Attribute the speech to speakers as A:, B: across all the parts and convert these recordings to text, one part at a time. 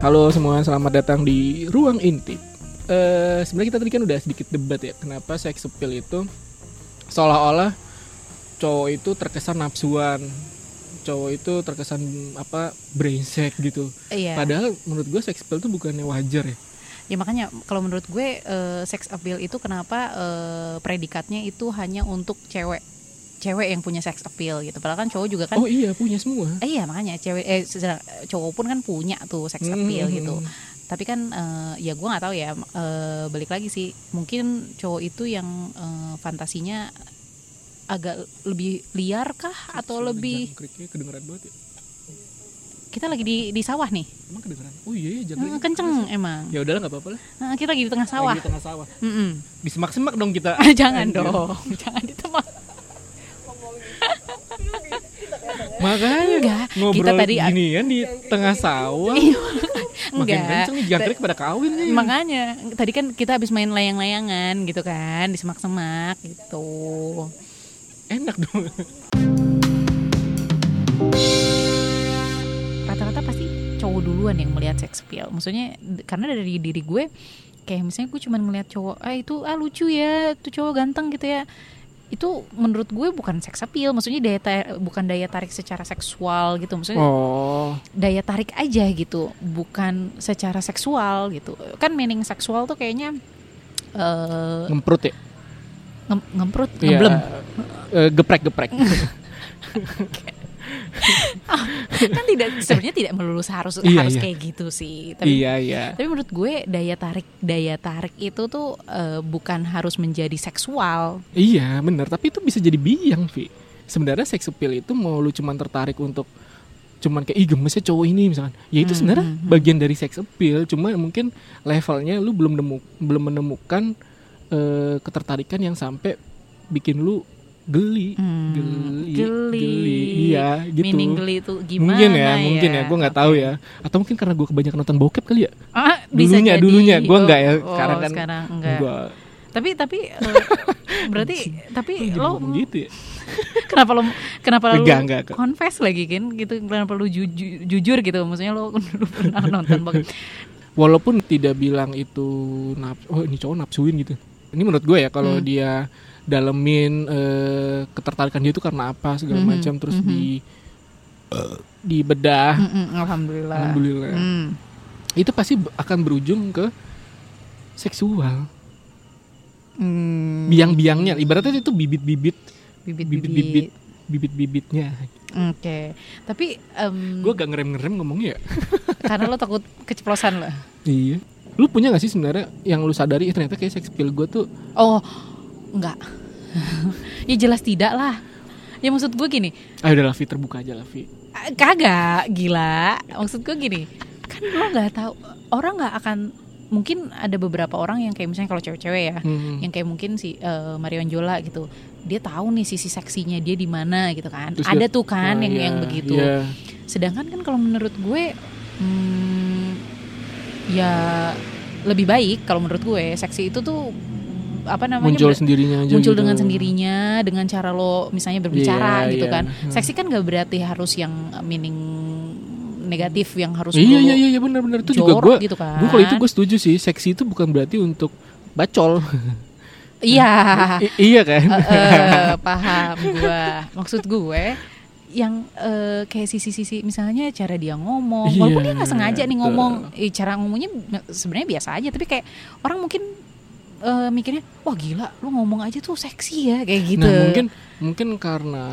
A: Halo semua, selamat datang di Ruang Intip. Eh Sebenarnya kita tadi kan udah sedikit debat ya, kenapa seks appeal itu seolah-olah cowok itu terkesan nafsuan, cowok itu terkesan apa brengsek gitu.
B: Iya.
A: Padahal menurut gue seks appeal itu bukannya wajar ya.
B: Ya makanya kalau menurut gue eh, sex appeal itu kenapa eh, predikatnya itu hanya untuk cewek. Cewek yang punya sex appeal gitu. Padahal kan cowok juga
A: Oh
B: kan
A: iya punya semua.
B: eh, iya makanya cewek eh sedang- cowok pun kan punya tuh sex appeal
A: Hmm.
B: gitu. Tapi kan eh, ya gue nggak tahu ya eh, balik lagi sih. Mungkin cowok itu yang eh, fantasinya agak lebih liar kah atau
A: Suara
B: lebih
A: jangkriknya kedengeran banget ya.
B: kita lagi di di sawah nih.
A: Emang kedengeran? Oh iya ya
B: Eh, Kenceng emang.
A: Ya gitu. udahlah nggak apa-apa lah.
B: Eh, Kita lagi di tengah
A: Lagi
B: sawah.
A: di tengah sawah.
B: Mm-mm.
A: Di semak-semak dong kita.
B: jangan
A: Anjir.
B: dong, jangan ditebak.
A: Makanya
B: Enggak,
A: ngobrol
B: kita tadi
A: ginian di tengah sawah.
B: Iya,
A: Makin
B: enggak.
A: kenceng nih jangkrik pada kawin nih.
B: Makanya tadi kan kita habis main layang-layangan gitu kan, di semak-semak gitu.
A: Enak dong.
B: Rata-rata pasti cowok duluan yang melihat sex appeal. Maksudnya d- karena dari diri gue kayak misalnya gue cuman ngelihat cowok, ah itu ah lucu ya, itu cowok ganteng gitu ya. Itu menurut gue bukan sex appeal, maksudnya daya tar- bukan daya tarik secara seksual gitu. Maksudnya
A: Oh.
B: daya tarik aja gitu, bukan secara seksual gitu. Kan meaning seksual tuh kayaknya eh
A: Ngemprut ya? Eh,
B: ngem- ngemprut,
A: Iya.
B: ngeblem.
A: Geprek-geprek.
B: kan tidak sebenarnya tidak melulu harus
A: Iya,
B: harus
A: iya.
B: kayak gitu sih. Tapi
A: iya, iya.
B: tapi menurut gue daya tarik daya tarik itu tuh eh, bukan harus menjadi seksual.
A: Iya, bener. Tapi itu bisa jadi biang, Vi. Sebenarnya seks appeal itu mau lu cuman tertarik untuk cuman kayak ih gemesnya cowok ini misalkan. Ya itu
B: Hmm,
A: sebenarnya
B: hmm, hmm.
A: bagian dari seks appeal, cuma mungkin levelnya lu belum nemu belum menemukan eh, ketertarikan yang sampai bikin lu geli.
B: Hmm,
A: geli,
B: geli.
A: Iya, gitu.
B: Meaning geli itu gimana
A: mungkin ya, mungkin ya, gue nggak tahu
B: Oke.
A: ya. Atau mungkin karena gue kebanyakan nonton bokep kali ya.
B: Ah, bisa
A: Dulunya,
B: jadi.
A: dulunya. Gue
B: Oh,
A: nggak ya,
B: oh,
A: sekarang kan
B: sekarang nggak.
A: Gue
B: Tapi tapi eh, berarti tapi lo
A: ngomong gitu ya.
B: kenapa lo kenapa lo
A: Enggak, enggak.
B: confess lagi kan gitu kenapa lo ju- ju- jujur gitu maksudnya lo dulu pernah nonton bokep.
A: walaupun tidak bilang itu naf- oh ini cowok nafsuin gitu ini menurut gue ya kalau
B: Hmm.
A: dia dalemin eh, ketertarikan dia itu karena apa segala
B: Mhm,
A: macam terus
B: mhm.
A: di dibedah
B: Mm-mm, Alhamdulillah.
A: alhamdulillah
B: Hmm.
A: itu pasti b- akan berujung ke seksual
B: Hmm.
A: biang-biangnya ibaratnya itu bibit-bibit
B: bibit-bibit.
A: bibit-bibit bibit-bibitnya
B: Oke, tapi em,
A: gue gak ngerem-ngerem ngomongnya ya
B: karena lo takut keceplosan lo.
A: iya lu punya gak sih sebenarnya yang lu sadari "Eh, ternyata kayak seks appeal gue tuh
B: Oh, enggak. ya jelas tidak lah. Ya maksud gue gini,
A: ayo udah Ah, Lavi terbuka aja Lavi
B: "Ah, kagak gila. Maksud gue gini, kan lo nggak tahu orang nggak akan mungkin ada beberapa orang yang kayak misalnya kalau cewek-cewek ya,
A: Hmm.
B: yang kayak mungkin si eh, Marion Jola gitu, dia tahu nih sisi seksinya dia di mana gitu kan.
A: Terus
B: ada
A: dia-
B: tuh kan
A: Nah,
B: yang
A: iya,
B: yang begitu.
A: iya.
B: Sedangkan kan kalau menurut gue hmm, ya lebih baik kalau menurut gue seksi itu tuh mm, apa namanya
A: muncul
B: ber-
A: sendirinya aja
B: muncul
A: gitu.
B: dengan sendirinya dengan cara lo misalnya berbicara
A: Iya,
B: gitu
A: iya.
B: kan.
A: Hmm.
B: Seksi kan gak berarti harus yang eh, meaning negatif yang harus
A: iya
B: melulu
A: iya iya benar benar itu juga
B: jorok
A: gue
B: gitu kan.
A: gue kalau itu gue setuju sih seksi itu bukan berarti untuk bacol
B: Iya.
A: I- iya kan
B: Eh, eh, paham gue maksud gue yang eh, kayak sisi-sisi misalnya cara dia ngomong
A: Iya,
B: walaupun dia nggak sengaja nih
A: betul.
B: ngomong eh, cara ngomongnya sebenarnya biasa aja tapi kayak orang mungkin eh, mikirnya wah gila lu ngomong aja tuh seksi ya kayak gitu
A: nah mungkin mungkin karena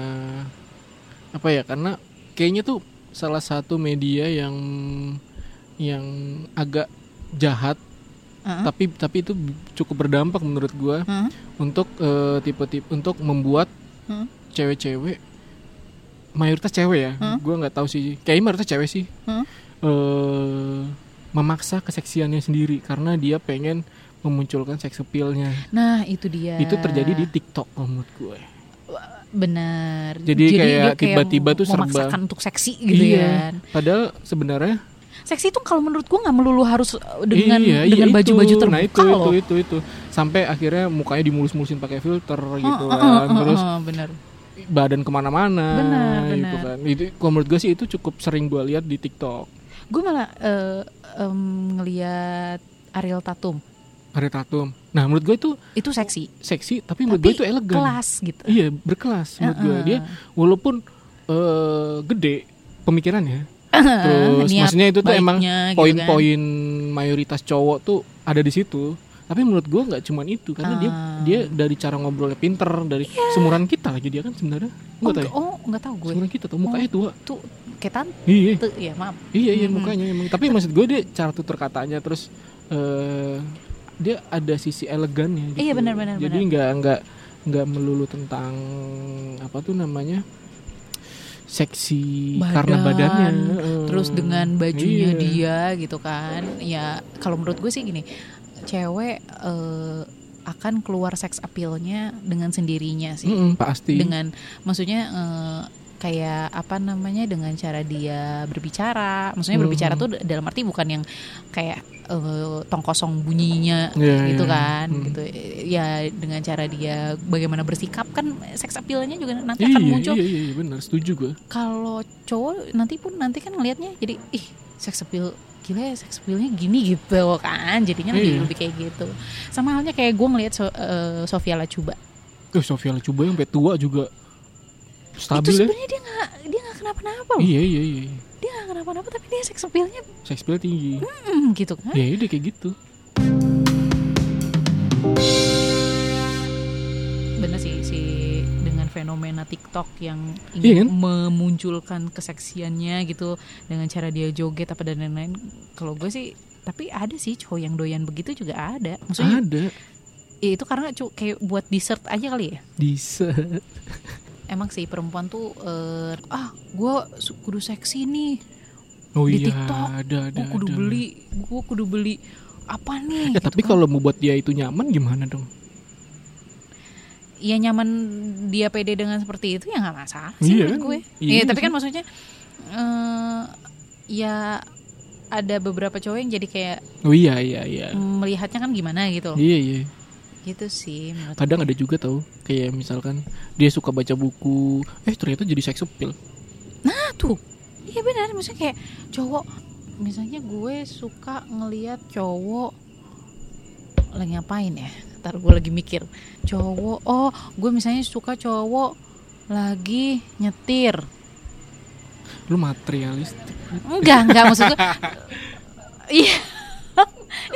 A: apa ya karena kayaknya tuh salah satu media yang yang agak jahat
B: Heeh.
A: tapi tapi itu cukup berdampak menurut gue
B: Heeh.
A: untuk eh, tipe-tipe untuk membuat
B: Heeh.
A: cewek-cewek mayoritas cewek ya
B: Heeh.
A: gue nggak tahu sih kayaknya mayoritas cewek sih
B: Heeh.
A: eh, memaksa keseksiannya sendiri karena dia pengen memunculkan seks appeal-nya
B: nah itu dia
A: ya. itu terjadi di TikTok kalau menurut gue
B: bener
A: Jadi kayak tiba-tiba tuh serba- Iya.
B: memaksakan untuk seksi gitu ya
A: Padahal sebenarnya
B: seksi itu kalau menurut gua nggak melulu harus eh, dengan
A: iya, iya, itu.
B: dengan baju-baju terbuka
A: nah, itu,
B: loh
A: itu itu itu sampai akhirnya mukanya dimulus-mulusin pakai filter gitu
B: Heeh,
A: kan.
B: heeh, heeh,
A: Terus
B: heeh, bener
A: badan kemana-mana
B: oh, Benar,
A: gitu
B: benar.
A: kan. Itu kalau menurut gue sih itu cukup sering gue lihat di TikTok.
B: gue malah eh, em, ngeliat Ariel Tatum
A: Hari Tatum. Nah, menurut gue itu
B: itu seksi
A: seksi tapi menurut gue
B: tapi
A: itu elegan.
B: kelas gitu
A: Iya, berkelas menurut gue.
B: Heeh.
A: Dia walaupun eh, gede pemikirannya. Terus
B: niat
A: maksudnya itu tuh emang
B: baiknya Nah, gitu kan.
A: poin-poin mayoritas cowok tuh ada di situ. Tapi menurut gue nggak cuman itu karena dia
B: Ah.
A: dia dari cara ngobrolnya pinter dari semuran kita lagi dia kan sebenarnya
B: Oh,
A: nggak tahu
B: enggak,
A: ya?
B: oh, enggak tahu gue.
A: semuran kita tuh mukanya tua
B: Tuh kayak tante
A: iya
B: ya, maaf.
A: iya iya
B: Mm-mm.
A: mukanya emang tapi maksud gue dia cara tutur katanya terus eh dia ada sisi elegannya gitu.
B: Iya, benar, benar,
A: jadi
B: benar.
A: nggak nggak nggak melulu tentang apa tuh namanya seksi
B: Badan,
A: karena badannya eh.
B: Terus dengan bajunya
A: Iya.
B: dia gitu kan. Ya, kalau menurut gue sih gini, cewek eh, akan keluar seks appeal-nya dengan sendirinya sih.
A: Mm-mm, pasti
B: Dengan maksudnya eh, kayak apa namanya dengan cara dia berbicara. Maksudnya berbicara
A: Mhm.
B: tuh d- dalam arti bukan yang kayak eh, tong kosong bunyinya
A: Iya,
B: gitu
A: iya.
B: kan
A: Mm.
B: gitu ya dengan cara dia bagaimana bersikap kan seks appeal-nya juga nanti akan
A: iya,
B: kan muncul
A: iya iya iya, benar setuju gue
B: kalau cowok nanti pun nanti kan ngelihatnya jadi ih seks appeal gila ya seks appealnya gini gitu kan jadinya
A: Iya.
B: lebih lebih kayak gitu sama halnya kayak gue ngelihat So- eh, Sofia Lacuba
A: tuh Eh, Sofia Lacuba yang sampai tua juga
B: itu
A: stabil ya
B: sebenarnya dia nggak dia nggak kenapa-napa loh
A: iya iya iya iya.
B: dia nggak kenapa-napa tapi dia seks appealnya
A: sex appeal tinggi
B: mm, gitu kan
A: ya udah kayak gitu
B: bener sih si dengan fenomena TikTok yang ingin
A: Iya kan?
B: memunculkan keseksiannya gitu dengan cara dia joget apa dan lain-lain kalau gue sih tapi ada sih cowok yang doyan begitu juga ada maksudnya
A: ada
B: Ya, itu karena cu- kayak buat dessert aja kali ya
A: bisa
B: emang sih perempuan tuh eh, ah gue kudu seksi nih
A: oh iya
B: Di TikTok,
A: ada ada
B: gue kudu
A: ada.
B: beli gue kudu beli apa nih
A: Ya
B: gitu
A: tapi
B: kan.
A: kalau mau buat dia itu nyaman gimana dong?
B: ya nyaman dia pede dengan seperti itu ya nggak masalah
A: Iya
B: sih
A: kan?
B: menurut gue
A: Iya
B: Iya, tapi
A: sih.
B: kan maksudnya eh, ya ada beberapa cowok yang jadi kayak
A: Oh iya iya iya.
B: melihatnya kan gimana gitu loh
A: Iya iya.
B: gitu sih menurut
A: Kadang ada juga tau kayak misalkan dia suka baca buku, eh ternyata jadi seks appeal.
B: Nah, tuh iya benar maksudnya kayak cowok misalnya gue suka ngelihat cowok lagi ngapain ya ntar gue lagi mikir cowok oh gue misalnya suka cowok lagi nyetir
A: Lu materialistik.
B: enggak enggak maksud gue iya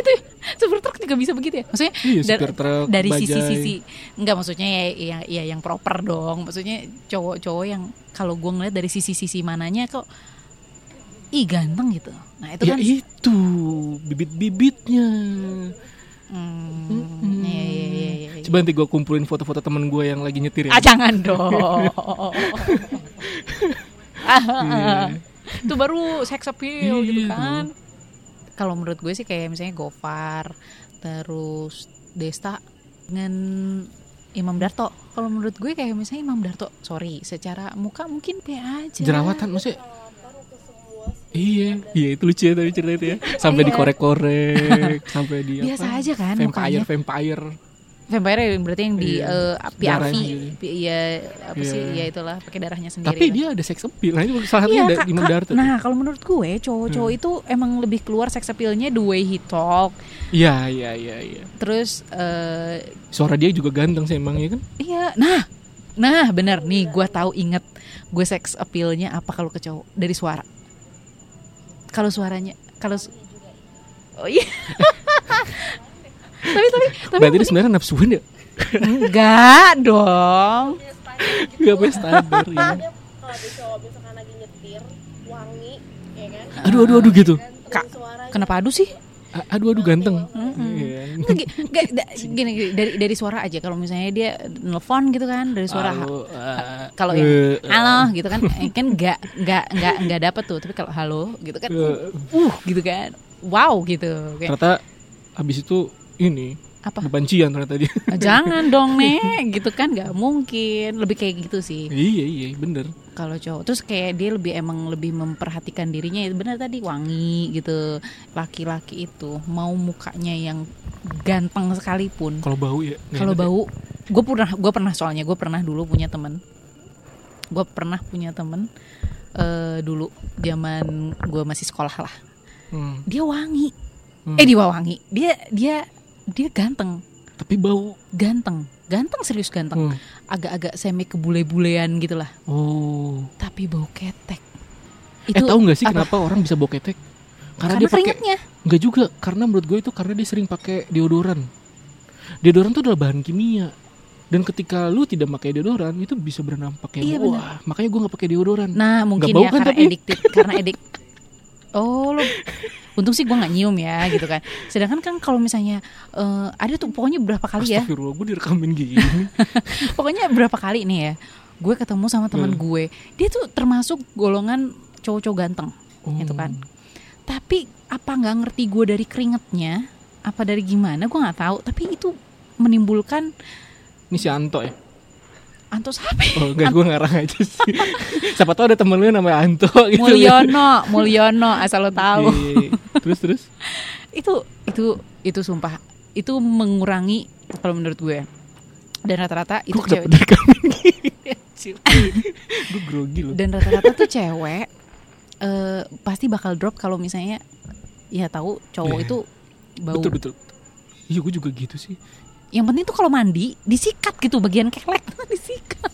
B: itu super truk juga bisa begitu ya maksudnya
A: Iya,
B: Dar-
A: supir truk,
B: dari
A: bajai.
B: sisi-sisi nggak maksudnya ya, ya ya yang proper dong maksudnya cowok-cowok yang kalau gue ngeliat dari sisi-sisi mananya kok ih ganteng gitu nah itu
A: ya
B: kan
A: itu bibit-bibitnya.
B: hmm, iya, iya, iya, iya, iya.
A: Coba nanti gue kumpulin foto-foto temen gue yang lagi nyetir ya.
B: ah jangan dong Ah, ah, ah. itu baru seks appeal gitu
A: Iya,
B: kan kalau menurut gue sih kayak misalnya Gofar terus Desta dengan Imam Darto kalau menurut gue kayak misalnya Imam Darto sorry secara muka mungkin be aja
A: Jerawatan maksudnya Iya, iya itu lucu ya tadi cerita itu ya. Sampai
B: Iya.
A: dikorek-korek, sampai di
B: biasa
A: apa?
B: aja kan
A: Vampire,
B: mukanya
A: vampire.
B: vampire yang berarti yang di
A: Iya.
B: eh, api
A: Darahnya
B: api
A: sendiri.
B: Pi- iya apa sih
A: Iya.
B: ya itulah pakai darahnya sendiri
A: Tapi
B: kan.
A: dia ada seks appeal. Nah, itu salah satunya
B: Iya,
A: ada
B: Kak,
A: Imam
B: Kak.
A: Darto. Hmm.
B: Nah, kalau menurut gue cowok-cowok itu emang lebih keluar sex appeal-nya the way he talk.
A: Iya, iya, iya, iya.
B: Terus eh
A: Suara dia juga ganteng sih emang ya kan?
B: iya, nah. Nah, bener nih gue tahu inget gue sex appeal-nya apa kalau ke cowok dari suara. Kalau suaranya kalau su- Oh iya. tapi tapi tapi
A: Berarti dia sebenarnya nafsuin ya?
B: enggak dong.
A: Gak
B: Iya.
A: punya standar ya.
C: Dia kalau ada cowok misalkan lagi nyetir wangi ya kan
A: Aduh, aduh, aduh gitu.
C: Dan
B: Kak,
C: suaranya
B: Kenapa adu sih?
A: A- Aduh, aduh ganteng.
B: Mm-mm.
A: Iya.
B: Nggak, gi- nggak, da- gini, gini, dari dari suara aja kalau misalnya dia nelpon gitu kan dari suara
A: Halo, eh,
B: kalau
A: eh,
B: yang
A: eh,
B: halo gitu kan eh, kan nggak nggak nggak nggak dapet tuh tapi kalau halo gitu kan
A: eh,
B: uh gitu kan wow gitu kayak
A: Ternyata habis itu ini
B: apa
A: kebencian ternyata dia
B: jangan dong nek gitu kan nggak mungkin lebih kayak gitu sih
A: iya iya bener
B: kalau cowok terus kayak dia lebih emang lebih memperhatikan dirinya ya benar tadi wangi gitu laki-laki itu mau mukanya yang ganteng sekalipun
A: kalau bau ya nggak
B: kalau
A: enak ya.
B: bau gue pernah gue pernah soalnya gue pernah dulu punya temen gue pernah punya temen eh, dulu zaman gue masih sekolah lah
A: Hmm,
B: dia wangi
A: hmm.
B: eh dia wangi dia dia dia ganteng
A: tapi bau
B: ganteng ganteng serius ganteng
A: Hmm.
B: agak-agak semi kebule-bulean gitu lah
A: oh
B: tapi bau ketek
A: eh tahu nggak sih
B: apa?
A: kenapa orang bisa bau ketek karena,
B: karena,
A: dia pakai
B: keringetnya
A: nggak juga karena menurut gue itu karena dia sering pakai deodoran deodoran itu adalah bahan kimia dan ketika lu tidak pakai deodoran itu bisa berdampak ya
B: Iya,
A: wah makanya gue nggak pakai deodoran
B: Nah mungkin
A: bau kan
B: ya karena
A: tapi?
B: addicted Karena edik Oh lo Untung sih gue gak nyium ya gitu kan Sedangkan kan kalau misalnya eh, Ada tuh pokoknya berapa kali ya
A: Astagfirullah gue direkamin gini
B: Pokoknya berapa kali nih ya Gue ketemu sama teman
A: Hmm.
B: gue Dia tuh termasuk golongan cowok-cowok ganteng
A: Oh.
B: Gitu kan. Tapi apa nggak ngerti gue dari keringetnya Apa dari gimana gue gak tahu Tapi itu menimbulkan
A: ini si Anto ya
B: Antos HP
A: oh enggak gue ngarang aja sih siapa tau ada temen lu yang namanya Anto gitu
B: Mulyono Mulyono asal lo tahu
A: Iya, iya, iya. terus terus
B: itu itu itu sumpah itu mengurangi kalau menurut gue dan rata-rata itu
A: gue kenapa
B: cewek
A: direkamin gini gue grogi loh
B: dan rata-rata tuh cewek eh, pasti bakal drop kalau misalnya ya tahu cowok
A: Iya.
B: itu bau
A: betul betul iya gue juga gitu sih
B: yang penting tuh kalau mandi disikat gitu bagian kelek disikat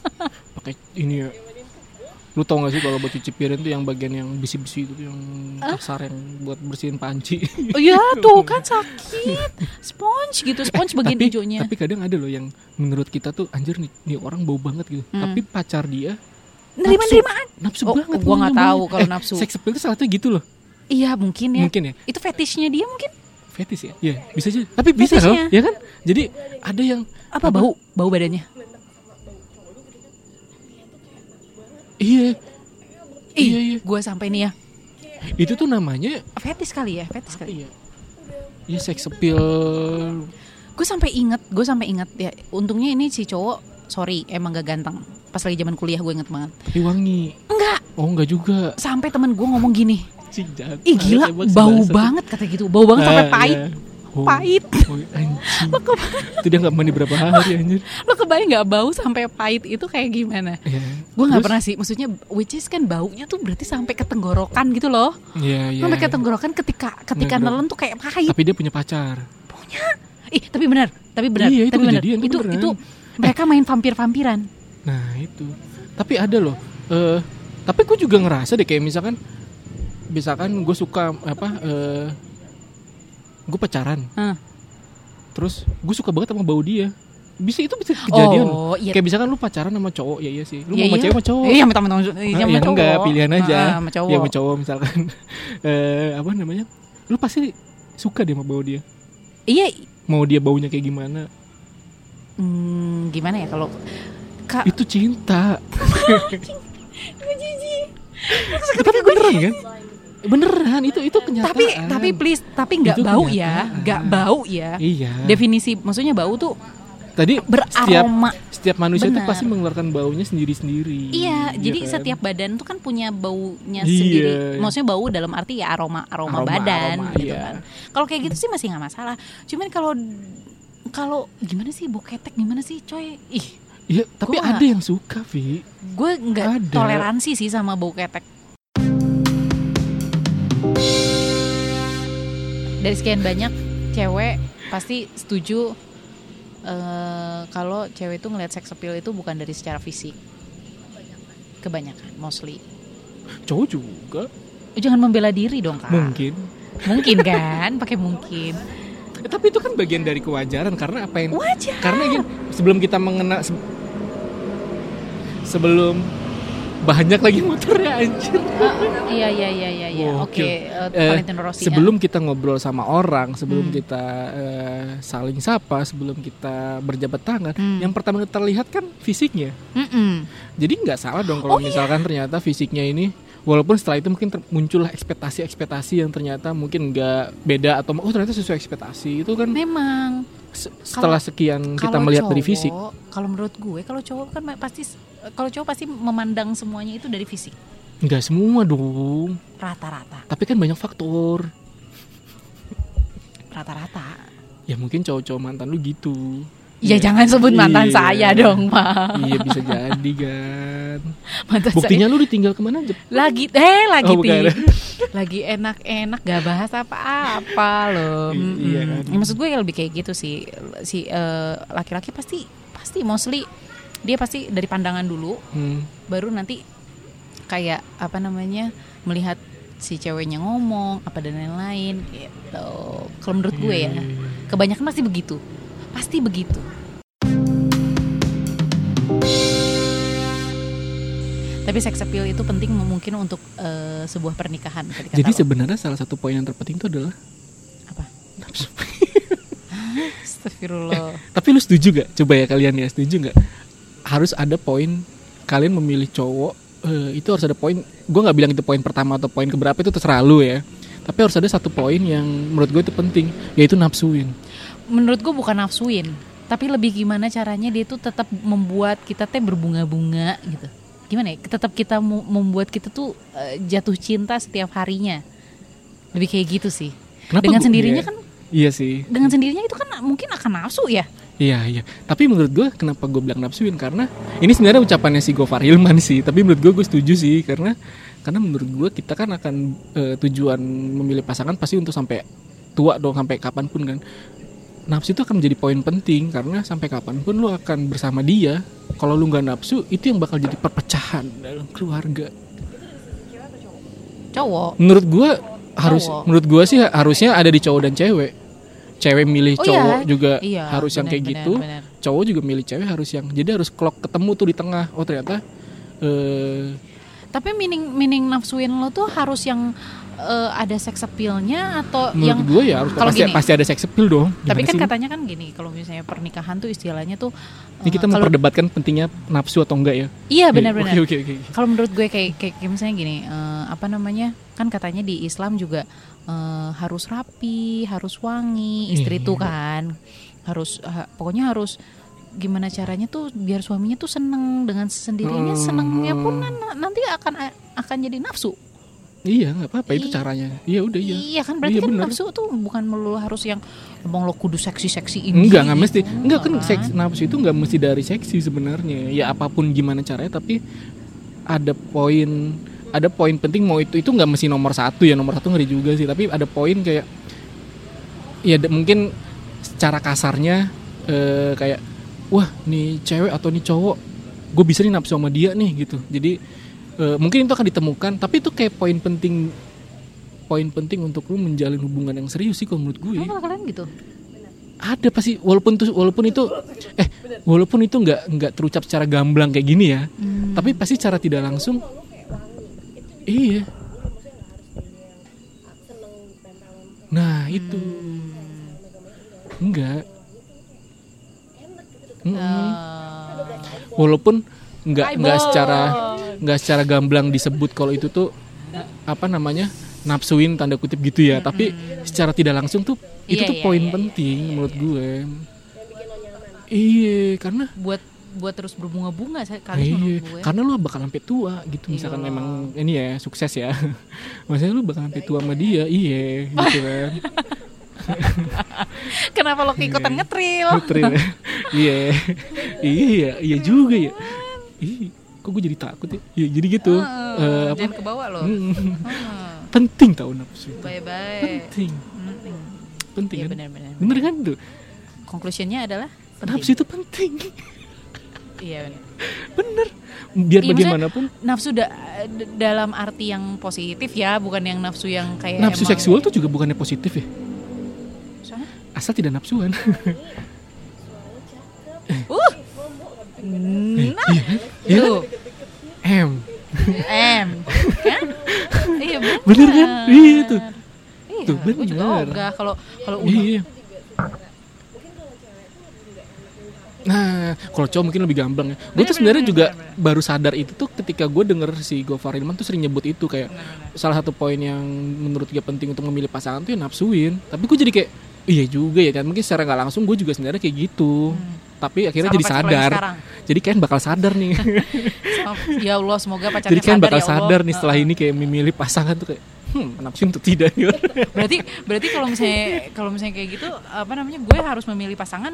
A: pakai ini ya lu tau gak sih kalau buat cuci piring tuh yang bagian yang besi-besi itu tuh yang kasar yang buat bersihin panci
B: oh, ya tuh kan sakit sponge gitu sponge bagian
A: Eh, tapi
B: hijaunya
A: tapi kadang ada loh yang menurut kita tuh anjir nih, nih orang bau banget gitu
B: Hmm.
A: tapi pacar dia
B: nerima nerimaan
A: nafsu
B: Oh,
A: banget
B: gua nggak
A: ngomongnya.
B: tahu kalau
A: Eh,
B: nafsu.
A: sex appeal tuh salah satunya gitu loh
B: iya mungkin ya
A: mungkin ya
B: itu fetishnya dia mungkin
A: fetish ya Iya, bisa aja tapi bisa loh
B: Fetishnya.
A: ya kan jadi ada yang
B: apa, bau bau badannya
A: iya
B: Ih,
A: Iya, iya.
B: gue sampai nih ya
A: itu tuh namanya
B: fetish kali ya fetish kali
A: iya Iya sex appeal
B: gue sampai inget gue sampai inget ya untungnya ini si cowok sorry emang gak ganteng pas lagi zaman kuliah gue inget banget
A: tapi wangi
B: enggak
A: oh enggak juga
B: sampai teman gue ngomong gini
A: Cing, jahat
B: ih
A: banget ya,
B: gila
A: emang si
B: bau
A: bangsat.
B: banget kata gitu bau banget sampai
A: Ah,
B: pahit
A: iya. Oh.
B: pahit
A: Oh, anjing. Itu dia gak mandi berapa hari anjir.
B: lo kebayang nggak bau sampai pahit itu kayak gimana
A: Ya.
B: gue nggak
A: Terus?
B: pernah sih maksudnya which is kan baunya tuh berarti sampai ke tenggorokan gitu loh
A: Iya, iya.
B: sampai ke tenggorokan ketika ketika
A: Nggak,
B: nelen tuh kayak pahit
A: Tapi dia punya pacar.
B: ih tapi benar tapi benar
A: Iya, itu
B: tapi benar
A: kejadian, itu
B: itu
A: beneran. Eh.
B: itu mereka main vampir vampiran
A: Nah, itu. Tapi ada loh. eh tapi gue juga ngerasa deh kayak misalkan misalkan gue suka apa eh gue pacaran.
B: Hah.
A: Terus gue suka banget sama bau dia. Bisa itu bisa kejadian.
B: oh iya
A: Kayak misalkan lu pacaran sama cowok, ya iya sih. Lu
B: Iya,
A: mau sama
B: iya.
A: cewek sama cowok.
B: Iya, sama teman-teman iya,
A: Ah,
B: sama
A: yang enggak,
B: cowok.
A: pilihan aja.
B: Ah, sama cowok.
A: Iya sama cowok misalkan eh apa namanya? Lu pasti suka deh sama bau dia.
B: Iya,
A: Mau dia baunya kayak gimana?
B: hmm, gimana ya kalau Kak,
A: Itu cinta.
B: gue jijik.
A: Tapi beneran kan? Beneran itu itu kenyataan.
B: Tapi tapi please, tapi nggak
A: Itu
B: bau ya,
A: kenyataan.
B: nggak bau ya.
A: iya.
B: Definisi maksudnya bau tuh
A: Tadi setiap
B: beraroma.
A: setiap manusia tuh
B: Benar.
A: pasti mengeluarkan baunya sendiri-sendiri.
B: Iya, jadi
A: kan?
B: setiap badan tuh kan punya
A: Iya.
B: baunya sendiri. Maksudnya bau dalam arti ya aroma aroma,
A: Aroma,
B: badan
A: aroma,
B: gitu
A: iya.
B: kan. Kalau kayak gitu sih masih nggak masalah. Cuman kalau kalau gimana sih boketek gimana sih coy? Ih,
A: Iya, tapi
B: Gua
A: ada
B: nggak-
A: yang suka, Vi.
B: gue nggak
A: Ada.
B: toleransi sih sama bau ketek. Dari sekian banyak cewek pasti setuju eh, kalau cewek itu ngelihat seks appeal itu bukan dari secara fisik. Kebanyakan, mostly.
A: Cowok juga
B: Eh, Jangan membela diri dong kak.
A: mungkin.
B: Mungkin kan, pakai mungkin.
A: Eh, tapi itu kan bagian dari kewajaran karena apa yang
B: Wajar.
A: karena gini, sebelum kita mengenal se- sebelum banyak lagi muternya anjir.
B: Iya iya iya iya. iya.
A: Gokil.
B: Oke, eh,
A: Eh,
B: Valentino Rossi.
A: sebelum kita ngobrol sama orang, sebelum
B: Hmm.
A: kita eh, saling sapa, sebelum kita berjabat tangan,
B: Hmm.
A: yang pertama yang terlihat kan fisiknya.
B: Mm-mm.
A: Jadi nggak salah dong
B: Oh,
A: kalau
B: iya.
A: misalkan ternyata fisiknya ini, walaupun setelah itu mungkin ter- muncullah ekspektasi-ekspektasi yang ternyata mungkin nggak beda atau oh ternyata sesuai ekspektasi itu kan
B: Memang.
A: se- setelah sekian kita melihat dari fisik
B: Kalau menurut gue, kalau cowok kan ma- pasti kalau cowok pasti memandang semuanya itu dari fisik
A: nggak semua dong
B: rata-rata,
A: tapi kan banyak faktor
B: rata-rata.
A: ya mungkin cowok-cowok mantan lu gitu
B: Ya jangan sebut mantan
A: Iya.
B: saya dong, Pak.
A: iya bisa jadi kan
B: Mantan saya
A: buktinya lu ditinggal kemana Jep?
B: lagi eh lagi
A: Oh,
B: Pi.
A: bukan.
B: lagi enak-enak gak bahas apa-apa loh.
A: I- iya kan.
B: Mm-mm. Ya, maksud gue lebih kayak gitu sih si eh, laki-laki pasti pasti mostly dia pasti dari pandangan dulu
A: Hmm,
B: baru nanti kayak apa namanya melihat si ceweknya ngomong apa dan lain-lain gitu. Kalau menurut gue ya,
A: iya, iya, iya.
B: kebanyakan pasti begitu. Pasti begitu. Tapi seks appeal itu penting mungkin untuk eh, sebuah pernikahan ketika
A: jadi
B: taruh.
A: sebenarnya salah satu poin yang terpenting itu adalah
B: apa?
A: nafsu.
B: Astagfirullah.
A: tapi lu setuju gak coba ya kalian ya setuju gak harus ada poin kalian memilih cowok eh, itu harus ada poin gue nggak bilang itu poin pertama atau poin keberapa itu terserah lu ya tapi harus ada satu poin yang menurut gue itu penting yaitu nafsuin
B: Menurut gue bukan nafsuin, tapi lebih gimana caranya dia tuh tetap membuat kita teh berbunga-bunga gitu. Gimana ya? Tetap kita mu- membuat kita tuh eh, jatuh cinta setiap harinya. Lebih kayak gitu sih.
A: Kenapa
B: dengan
A: gua-
B: sendirinya
A: iya.
B: kan
A: iya sih
B: dengan sendirinya itu kan mungkin akan nafsu ya.
A: Iya iya. Tapi menurut gue kenapa gue bilang nafsuin karena ini sebenarnya ucapannya si Gofar Hilman sih. Tapi menurut gue gue setuju sih karena karena menurut gue kita kan akan eh, tujuan memilih pasangan pasti untuk sampai tua dong sampai kapanpun kan. Nafsu itu akan menjadi poin penting karena sampai kapanpun lo akan bersama dia. Kalau lu nggak nafsu itu yang bakal jadi perpecahan dalam keluarga.
B: Cowok
A: Menurut gue harus
B: Cowok.
A: menurut gue sih harusnya ada di cowok dan cewek. Cewek milih
B: Oh,
A: cowok
B: iya.
A: juga
B: Iya,
A: Eh, harus yang
B: benar,
A: kayak
B: benar,
A: gitu
B: benar.
A: cowok juga milih cewek harus yang jadi harus clock ketemu tuh di tengah oh ternyata eh
B: Tapi meaning meaning nafsuin lo tuh harus yang eh, ada sex appeal-nya atau yang
A: menurut gue ya harus
B: kalau
A: pasti
B: gini.
A: pasti ada sex appeal dong Gimana
B: tapi kan
A: sih?
B: katanya kan gini kalau misalnya pernikahan tuh istilahnya tuh
A: ini
B: eh,
A: kita
B: kalau
A: memperdebatkan pentingnya nafsu atau enggak ya
B: iya
A: Oke,
B: benar-benar
A: oke oke oke
B: kalau menurut gue kayak kayak, kayak misalnya gini eh, apa namanya kan katanya di Islam juga eh, harus rapi harus wangi istri
A: Iya.
B: tuh kan harus ha- pokoknya harus gimana caranya tuh biar suaminya tuh seneng dengan sendirinya
A: Hmm.
B: senengnya pun nan- nanti akan akan jadi nafsu
A: iya nggak apa-apa itu
B: Iya.
A: caranya iya udah iya
B: Iya kan berarti
A: Iya,
B: kan
A: bener.
B: nafsu tuh bukan melulu harus yang emang lo kudu seksi-seksi ini.
A: enggak nggak
B: gitu.
A: mesti enggak kan
B: Enggak
A: seks nafsu itu nggak mesti dari seksi sebenarnya ya apapun gimana caranya tapi ada poin ada poin penting mau itu itu nggak mesti nomor satu ya nomor satu ngeri juga sih tapi ada poin kayak ya de- mungkin secara kasarnya eh, kayak wah nih cewek atau nih cowok gue bisa nih nafsu sama dia nih gitu jadi eh, mungkin itu akan ditemukan tapi itu kayak poin penting poin penting untuk lu menjalin hubungan yang serius sih kalau menurut gue
B: Emang kalau kalian gitu?
A: ada pasti walaupun tuh walaupun itu eh walaupun itu nggak nggak terucap secara gamblang kayak gini ya
B: Hmm.
A: tapi pasti cara tidak langsung iya nah itu
B: Hmm.
A: enggak Mm-mm.
B: Eh,
A: walaupun nggak nggak
B: Eyeball.
A: secara nggak secara gamblang disebut kalau itu tuh apa namanya nafsuin tanda kutip gitu ya tapi secara tidak langsung tuh itu
B: Hmm. Iya,
A: tuh
B: iya,
A: poin
B: iya,
A: penting menurut gue iya karena
B: buat buat terus berbunga-bunga saya- kali menurut gue.
A: Iya, karena lu bakal sampai tua gitu misalkan
B: ya. Iya.
A: memang ini ya sukses ya. Maksudnya lu bakal sampai tua sama dia, iya gitu kan.
B: Kenapa lo keikutan ngetril?
A: Putri. Iya. Iya, iya juga ya. Ih, kok gue jadi takut ya? Iya, jadi gitu.
B: Eh,
A: Eh, apa?
B: jangan ke bawah lo.
A: Mm, penting tahu nafsu. itu.
B: Bye bye.
A: Penting, penting.
B: Iya
A: kan?
B: benar-benar.
A: Bener kan tuh?
B: Conclusionnya adalah
A: Nafsu
B: penting.
A: itu penting.
B: Iya benar.
A: Bener. Biar
B: Iya, maksudnya-
A: bagaimanapun
B: Nafsu da- d- dalam arti yang positif ya, bukan yang nafsu yang kayak
A: nafsu
B: Iya, emang-
A: seksual tuh juga bukannya positif ya.
B: Soalnya
A: Asal tidak nafsuan.
B: Uh. Nah.
A: Iya.
B: Tuh.
A: Em.
B: M. Kan? Iya benar.
A: Bener kan? Iya tuh.
B: Iya,
A: Tuh,
B: gue juga
A: bener.
B: ogah kalau kalau
A: Iya,
B: udah
A: iya. Nah, kalau cowok mungkin lebih gampang ya. Gue tuh
B: Bener,
A: sebenarnya
B: bener,
A: juga
B: bener,
A: baru sadar itu tuh ketika gue denger si Gofar Hilman tuh sering nyebut itu kayak salah satu poin yang menurut gue penting untuk memilih pasangan tuh ya nafsuin. Tapi gue jadi kayak iya juga ya kan mungkin secara nggak langsung gue juga sebenarnya kayak gitu
B: Hmm.
A: tapi akhirnya
B: Sama
A: jadi
B: pacar lo yang
A: sadar
B: sekarang.
A: jadi Ken bakal sadar nih
B: Sama- ya Allah semoga pacarnya
A: jadi Ken
B: sadar
A: bakal
B: ya Allah.
A: sadar nih setelah
B: Heeh.
A: ini kayak memilih pasangan tuh kayak hmm nafsu untuk tidak nih orang."
B: berarti berarti kalau misalnya kalau misalnya kayak gitu apa namanya gue harus memilih pasangan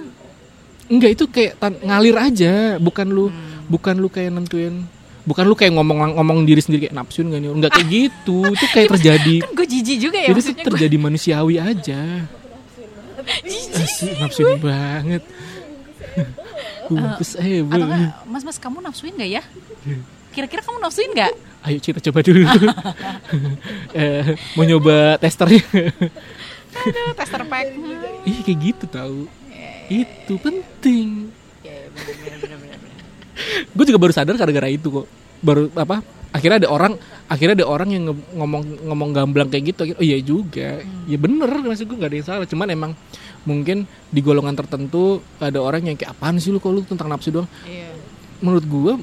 A: enggak itu kayak tan- ngalir aja bukan lu
B: Hmm.
A: bukan lu kayak nentuin bukan lu kayak ngomong ngomong diri sendiri kayak nafsu nggak nih orang?" nggak kayak gitu itu kayak terjadi
B: kan gue jijik juga ya
A: jadi itu
B: maksudnya gue
A: terjadi manusiawi aja
B: jijik
A: Asik, nafsuin banget Bungkus eh,
B: atau
A: Bu.
B: enggak mas mas kamu nafsuin nggak ya kira-kira kamu nafsuin nggak
A: Ayo kita coba dulu. eh, mau nyoba ya? testernya?
B: aduh tester pack Hmm.
A: Ih kayak gitu tahu.
B: Iya,
A: Itu penting.
B: Ya, ya, bener, bener, bener, bener.
A: Gue juga baru sadar gara-gara itu kok. Baru apa? Akhirnya ada orang, akhirnya ada orang yang nge- ngomong ngomong gamblang kayak gitu. Akhirnya, Oh iya juga,
B: Hmm.
A: ya bener maksud gue nggak ada yang salah. Cuman emang mungkin di golongan tertentu ada orang yang kayak apaan sih lu kok lu tentang nafsu doang.
B: Iya.
A: menurut gue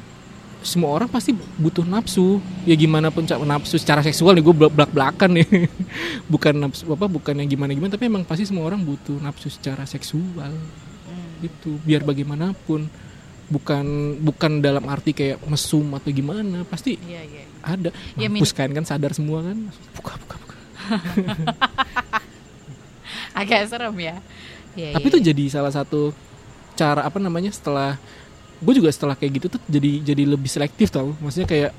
A: semua orang pasti butuh nafsu ya gimana pun ca- nafsu secara seksual nih gue belak belakan nih bukan nafsu apa bukan yang gimana gimana tapi emang pasti semua orang butuh nafsu secara seksual
B: Hmm.
A: gitu biar bagaimanapun bukan bukan dalam arti kayak mesum atau gimana pasti
B: iya iya
A: ada
B: Ya,
A: mampus kan kan sadar semua kan buka buka buka
B: agak serem ya Iya,
A: tapi
B: iya,
A: itu
B: iya.
A: jadi salah satu cara apa namanya setelah gue juga setelah kayak gitu tuh jadi jadi lebih selektif tau maksudnya kayak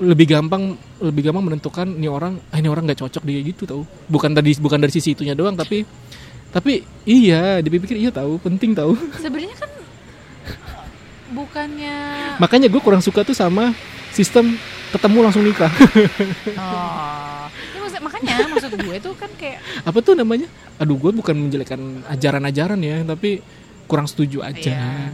A: lebih gampang lebih gampang menentukan ini orang ah, ini orang nggak cocok dia gitu tau bukan tadi bukan dari sisi itunya doang tapi tapi iya dipikir iya tahu penting tahu
B: sebenarnya kan bukannya
A: makanya gue kurang suka tuh sama sistem ketemu langsung nikah
B: oh Ya, maksud- makanya maksud gue tuh kan kayak
A: apa tuh namanya aduh gue bukan menjelekkan ajaran-ajaran ya tapi kurang setuju aja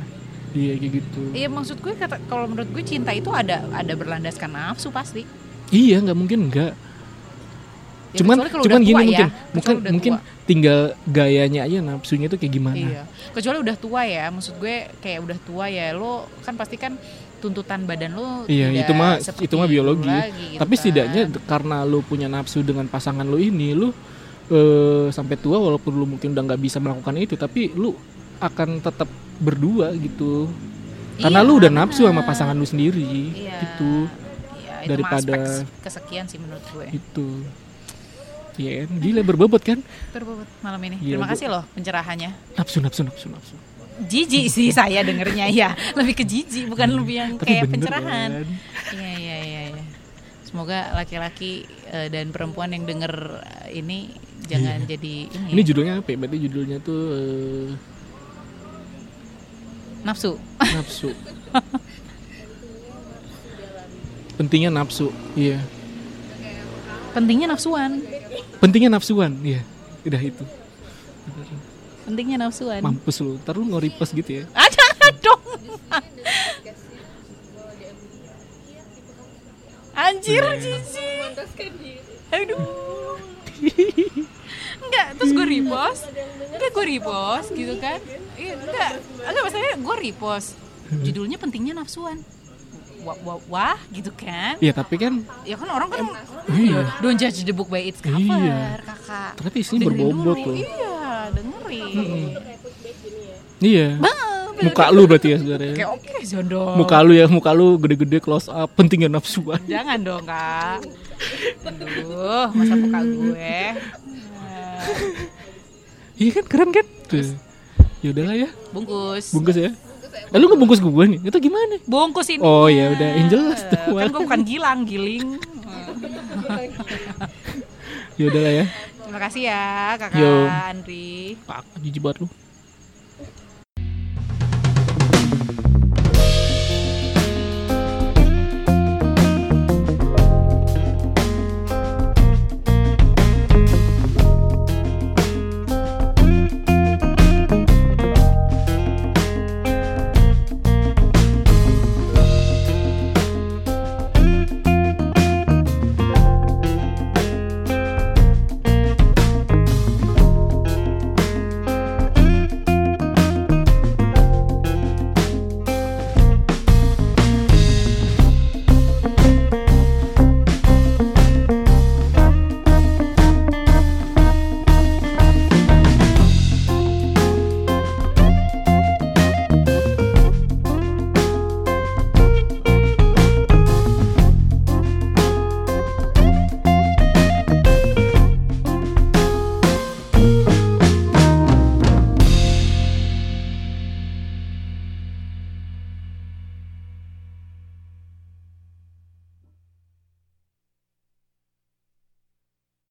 A: iya kayak gitu
B: Iya maksud gue kata kalau menurut gue cinta itu ada ada berlandaskan nafsu pasti.
A: iya nggak mungkin nggak
B: Ya,
A: cuman
B: kecuali kalau
A: cuman
B: udah
A: gini
B: tua
A: mungkin
B: ya. Kecuali
A: mungkin
B: udah
A: mungkin
B: tua.
A: tinggal gayanya aja nafsunya tuh kayak gimana
B: Iya. Kecuali udah tua ya, maksud gue kayak udah tua ya lo kan pasti kan tuntutan badan lo
A: Iya,
B: tidak
A: itu mah-
B: seperti
A: itu mah
B: dulu
A: biologi.
B: lagi gitu
A: tapi
B: kan.
A: setidaknya d- karena lu punya nafsu dengan pasangan lu ini lu eh, sampai tua walaupun lu mungkin udah nggak bisa melakukan itu tapi lu akan tetap berdua gitu karena
B: Iya,
A: lu udah nafsu sama
B: benar.
A: pasangan lu sendiri
B: Iya.
A: gitu
B: Iya, itu
A: daripada-
B: daripada kesekian sih menurut gue.
A: gitu Iya, kan? gila berbobot kan
B: Berbobot malam
A: Gila,
B: ini.
A: Iya,
B: Terima
A: Bu.
B: kasih loh pencerahannya.
A: nafsu nafsu nafsu nafsu
B: Jijik sih saya dengernya ya. Lebih ke jijik bukan lebih yang
A: Iya. tapi
B: kayak
A: bener
B: pencerahan.
A: kan?
B: Iya iya iya. iya. Semoga laki-laki eh, dan perempuan yang denger eh, ini jangan jadi
A: Iya.
B: ini,
A: ini
B: ya,
A: judulnya apa ya? berarti judulnya tuh eh,
B: nafsu.
A: nafsu pentingnya nafsu iya
B: Pentingnya nafsuan.
A: pentingnya nafsuan iya udah itu
B: Pentingnya nafsuan.
A: mampus lu ntar lu nge-repost gitu ya
B: Ah, jangan dong. Anjir, jijik. Aduh. Enggak, terus gue repost. Enggak, gue repost gitu kan. Iya, enggak. Enggak, maksudnya gue repost. Judulnya pentingnya nafsuan. Wah, wah, wah, gitu kan.
A: iya tapi kan
B: Ya kan orang kan
A: iya
B: don't judge the book by its cover,
A: Iya.
B: kakak.
A: ternyata isinya
B: Dengerin
A: berbobot
B: dulu.
A: loh
B: Iya, dengerin.
A: iya
B: Bang,
A: muka lu berarti ya sebenarnya
B: Oke, oke, Zondo.
A: muka lu ya muka lu gede-gede close up pentingnya nafsuan
B: Jangan dong, Kak. Aduh, masa muka gue. Eh,
A: iya kan keren kan tuh ya udahlah ya
B: Bungkus.
A: bungkus ya Eh, lu ngebungkus gue nih itu gimana
B: Bungkus ini.
A: Oh, ya udah, yang jelas
B: Eh,
A: tuh.
B: Kan gue bukan gilang, giling. Eh,
A: ya udahlah ya
B: Terima kasih ya, Kakak
A: Yo.
B: Andri.
A: Pak, jijik banget lu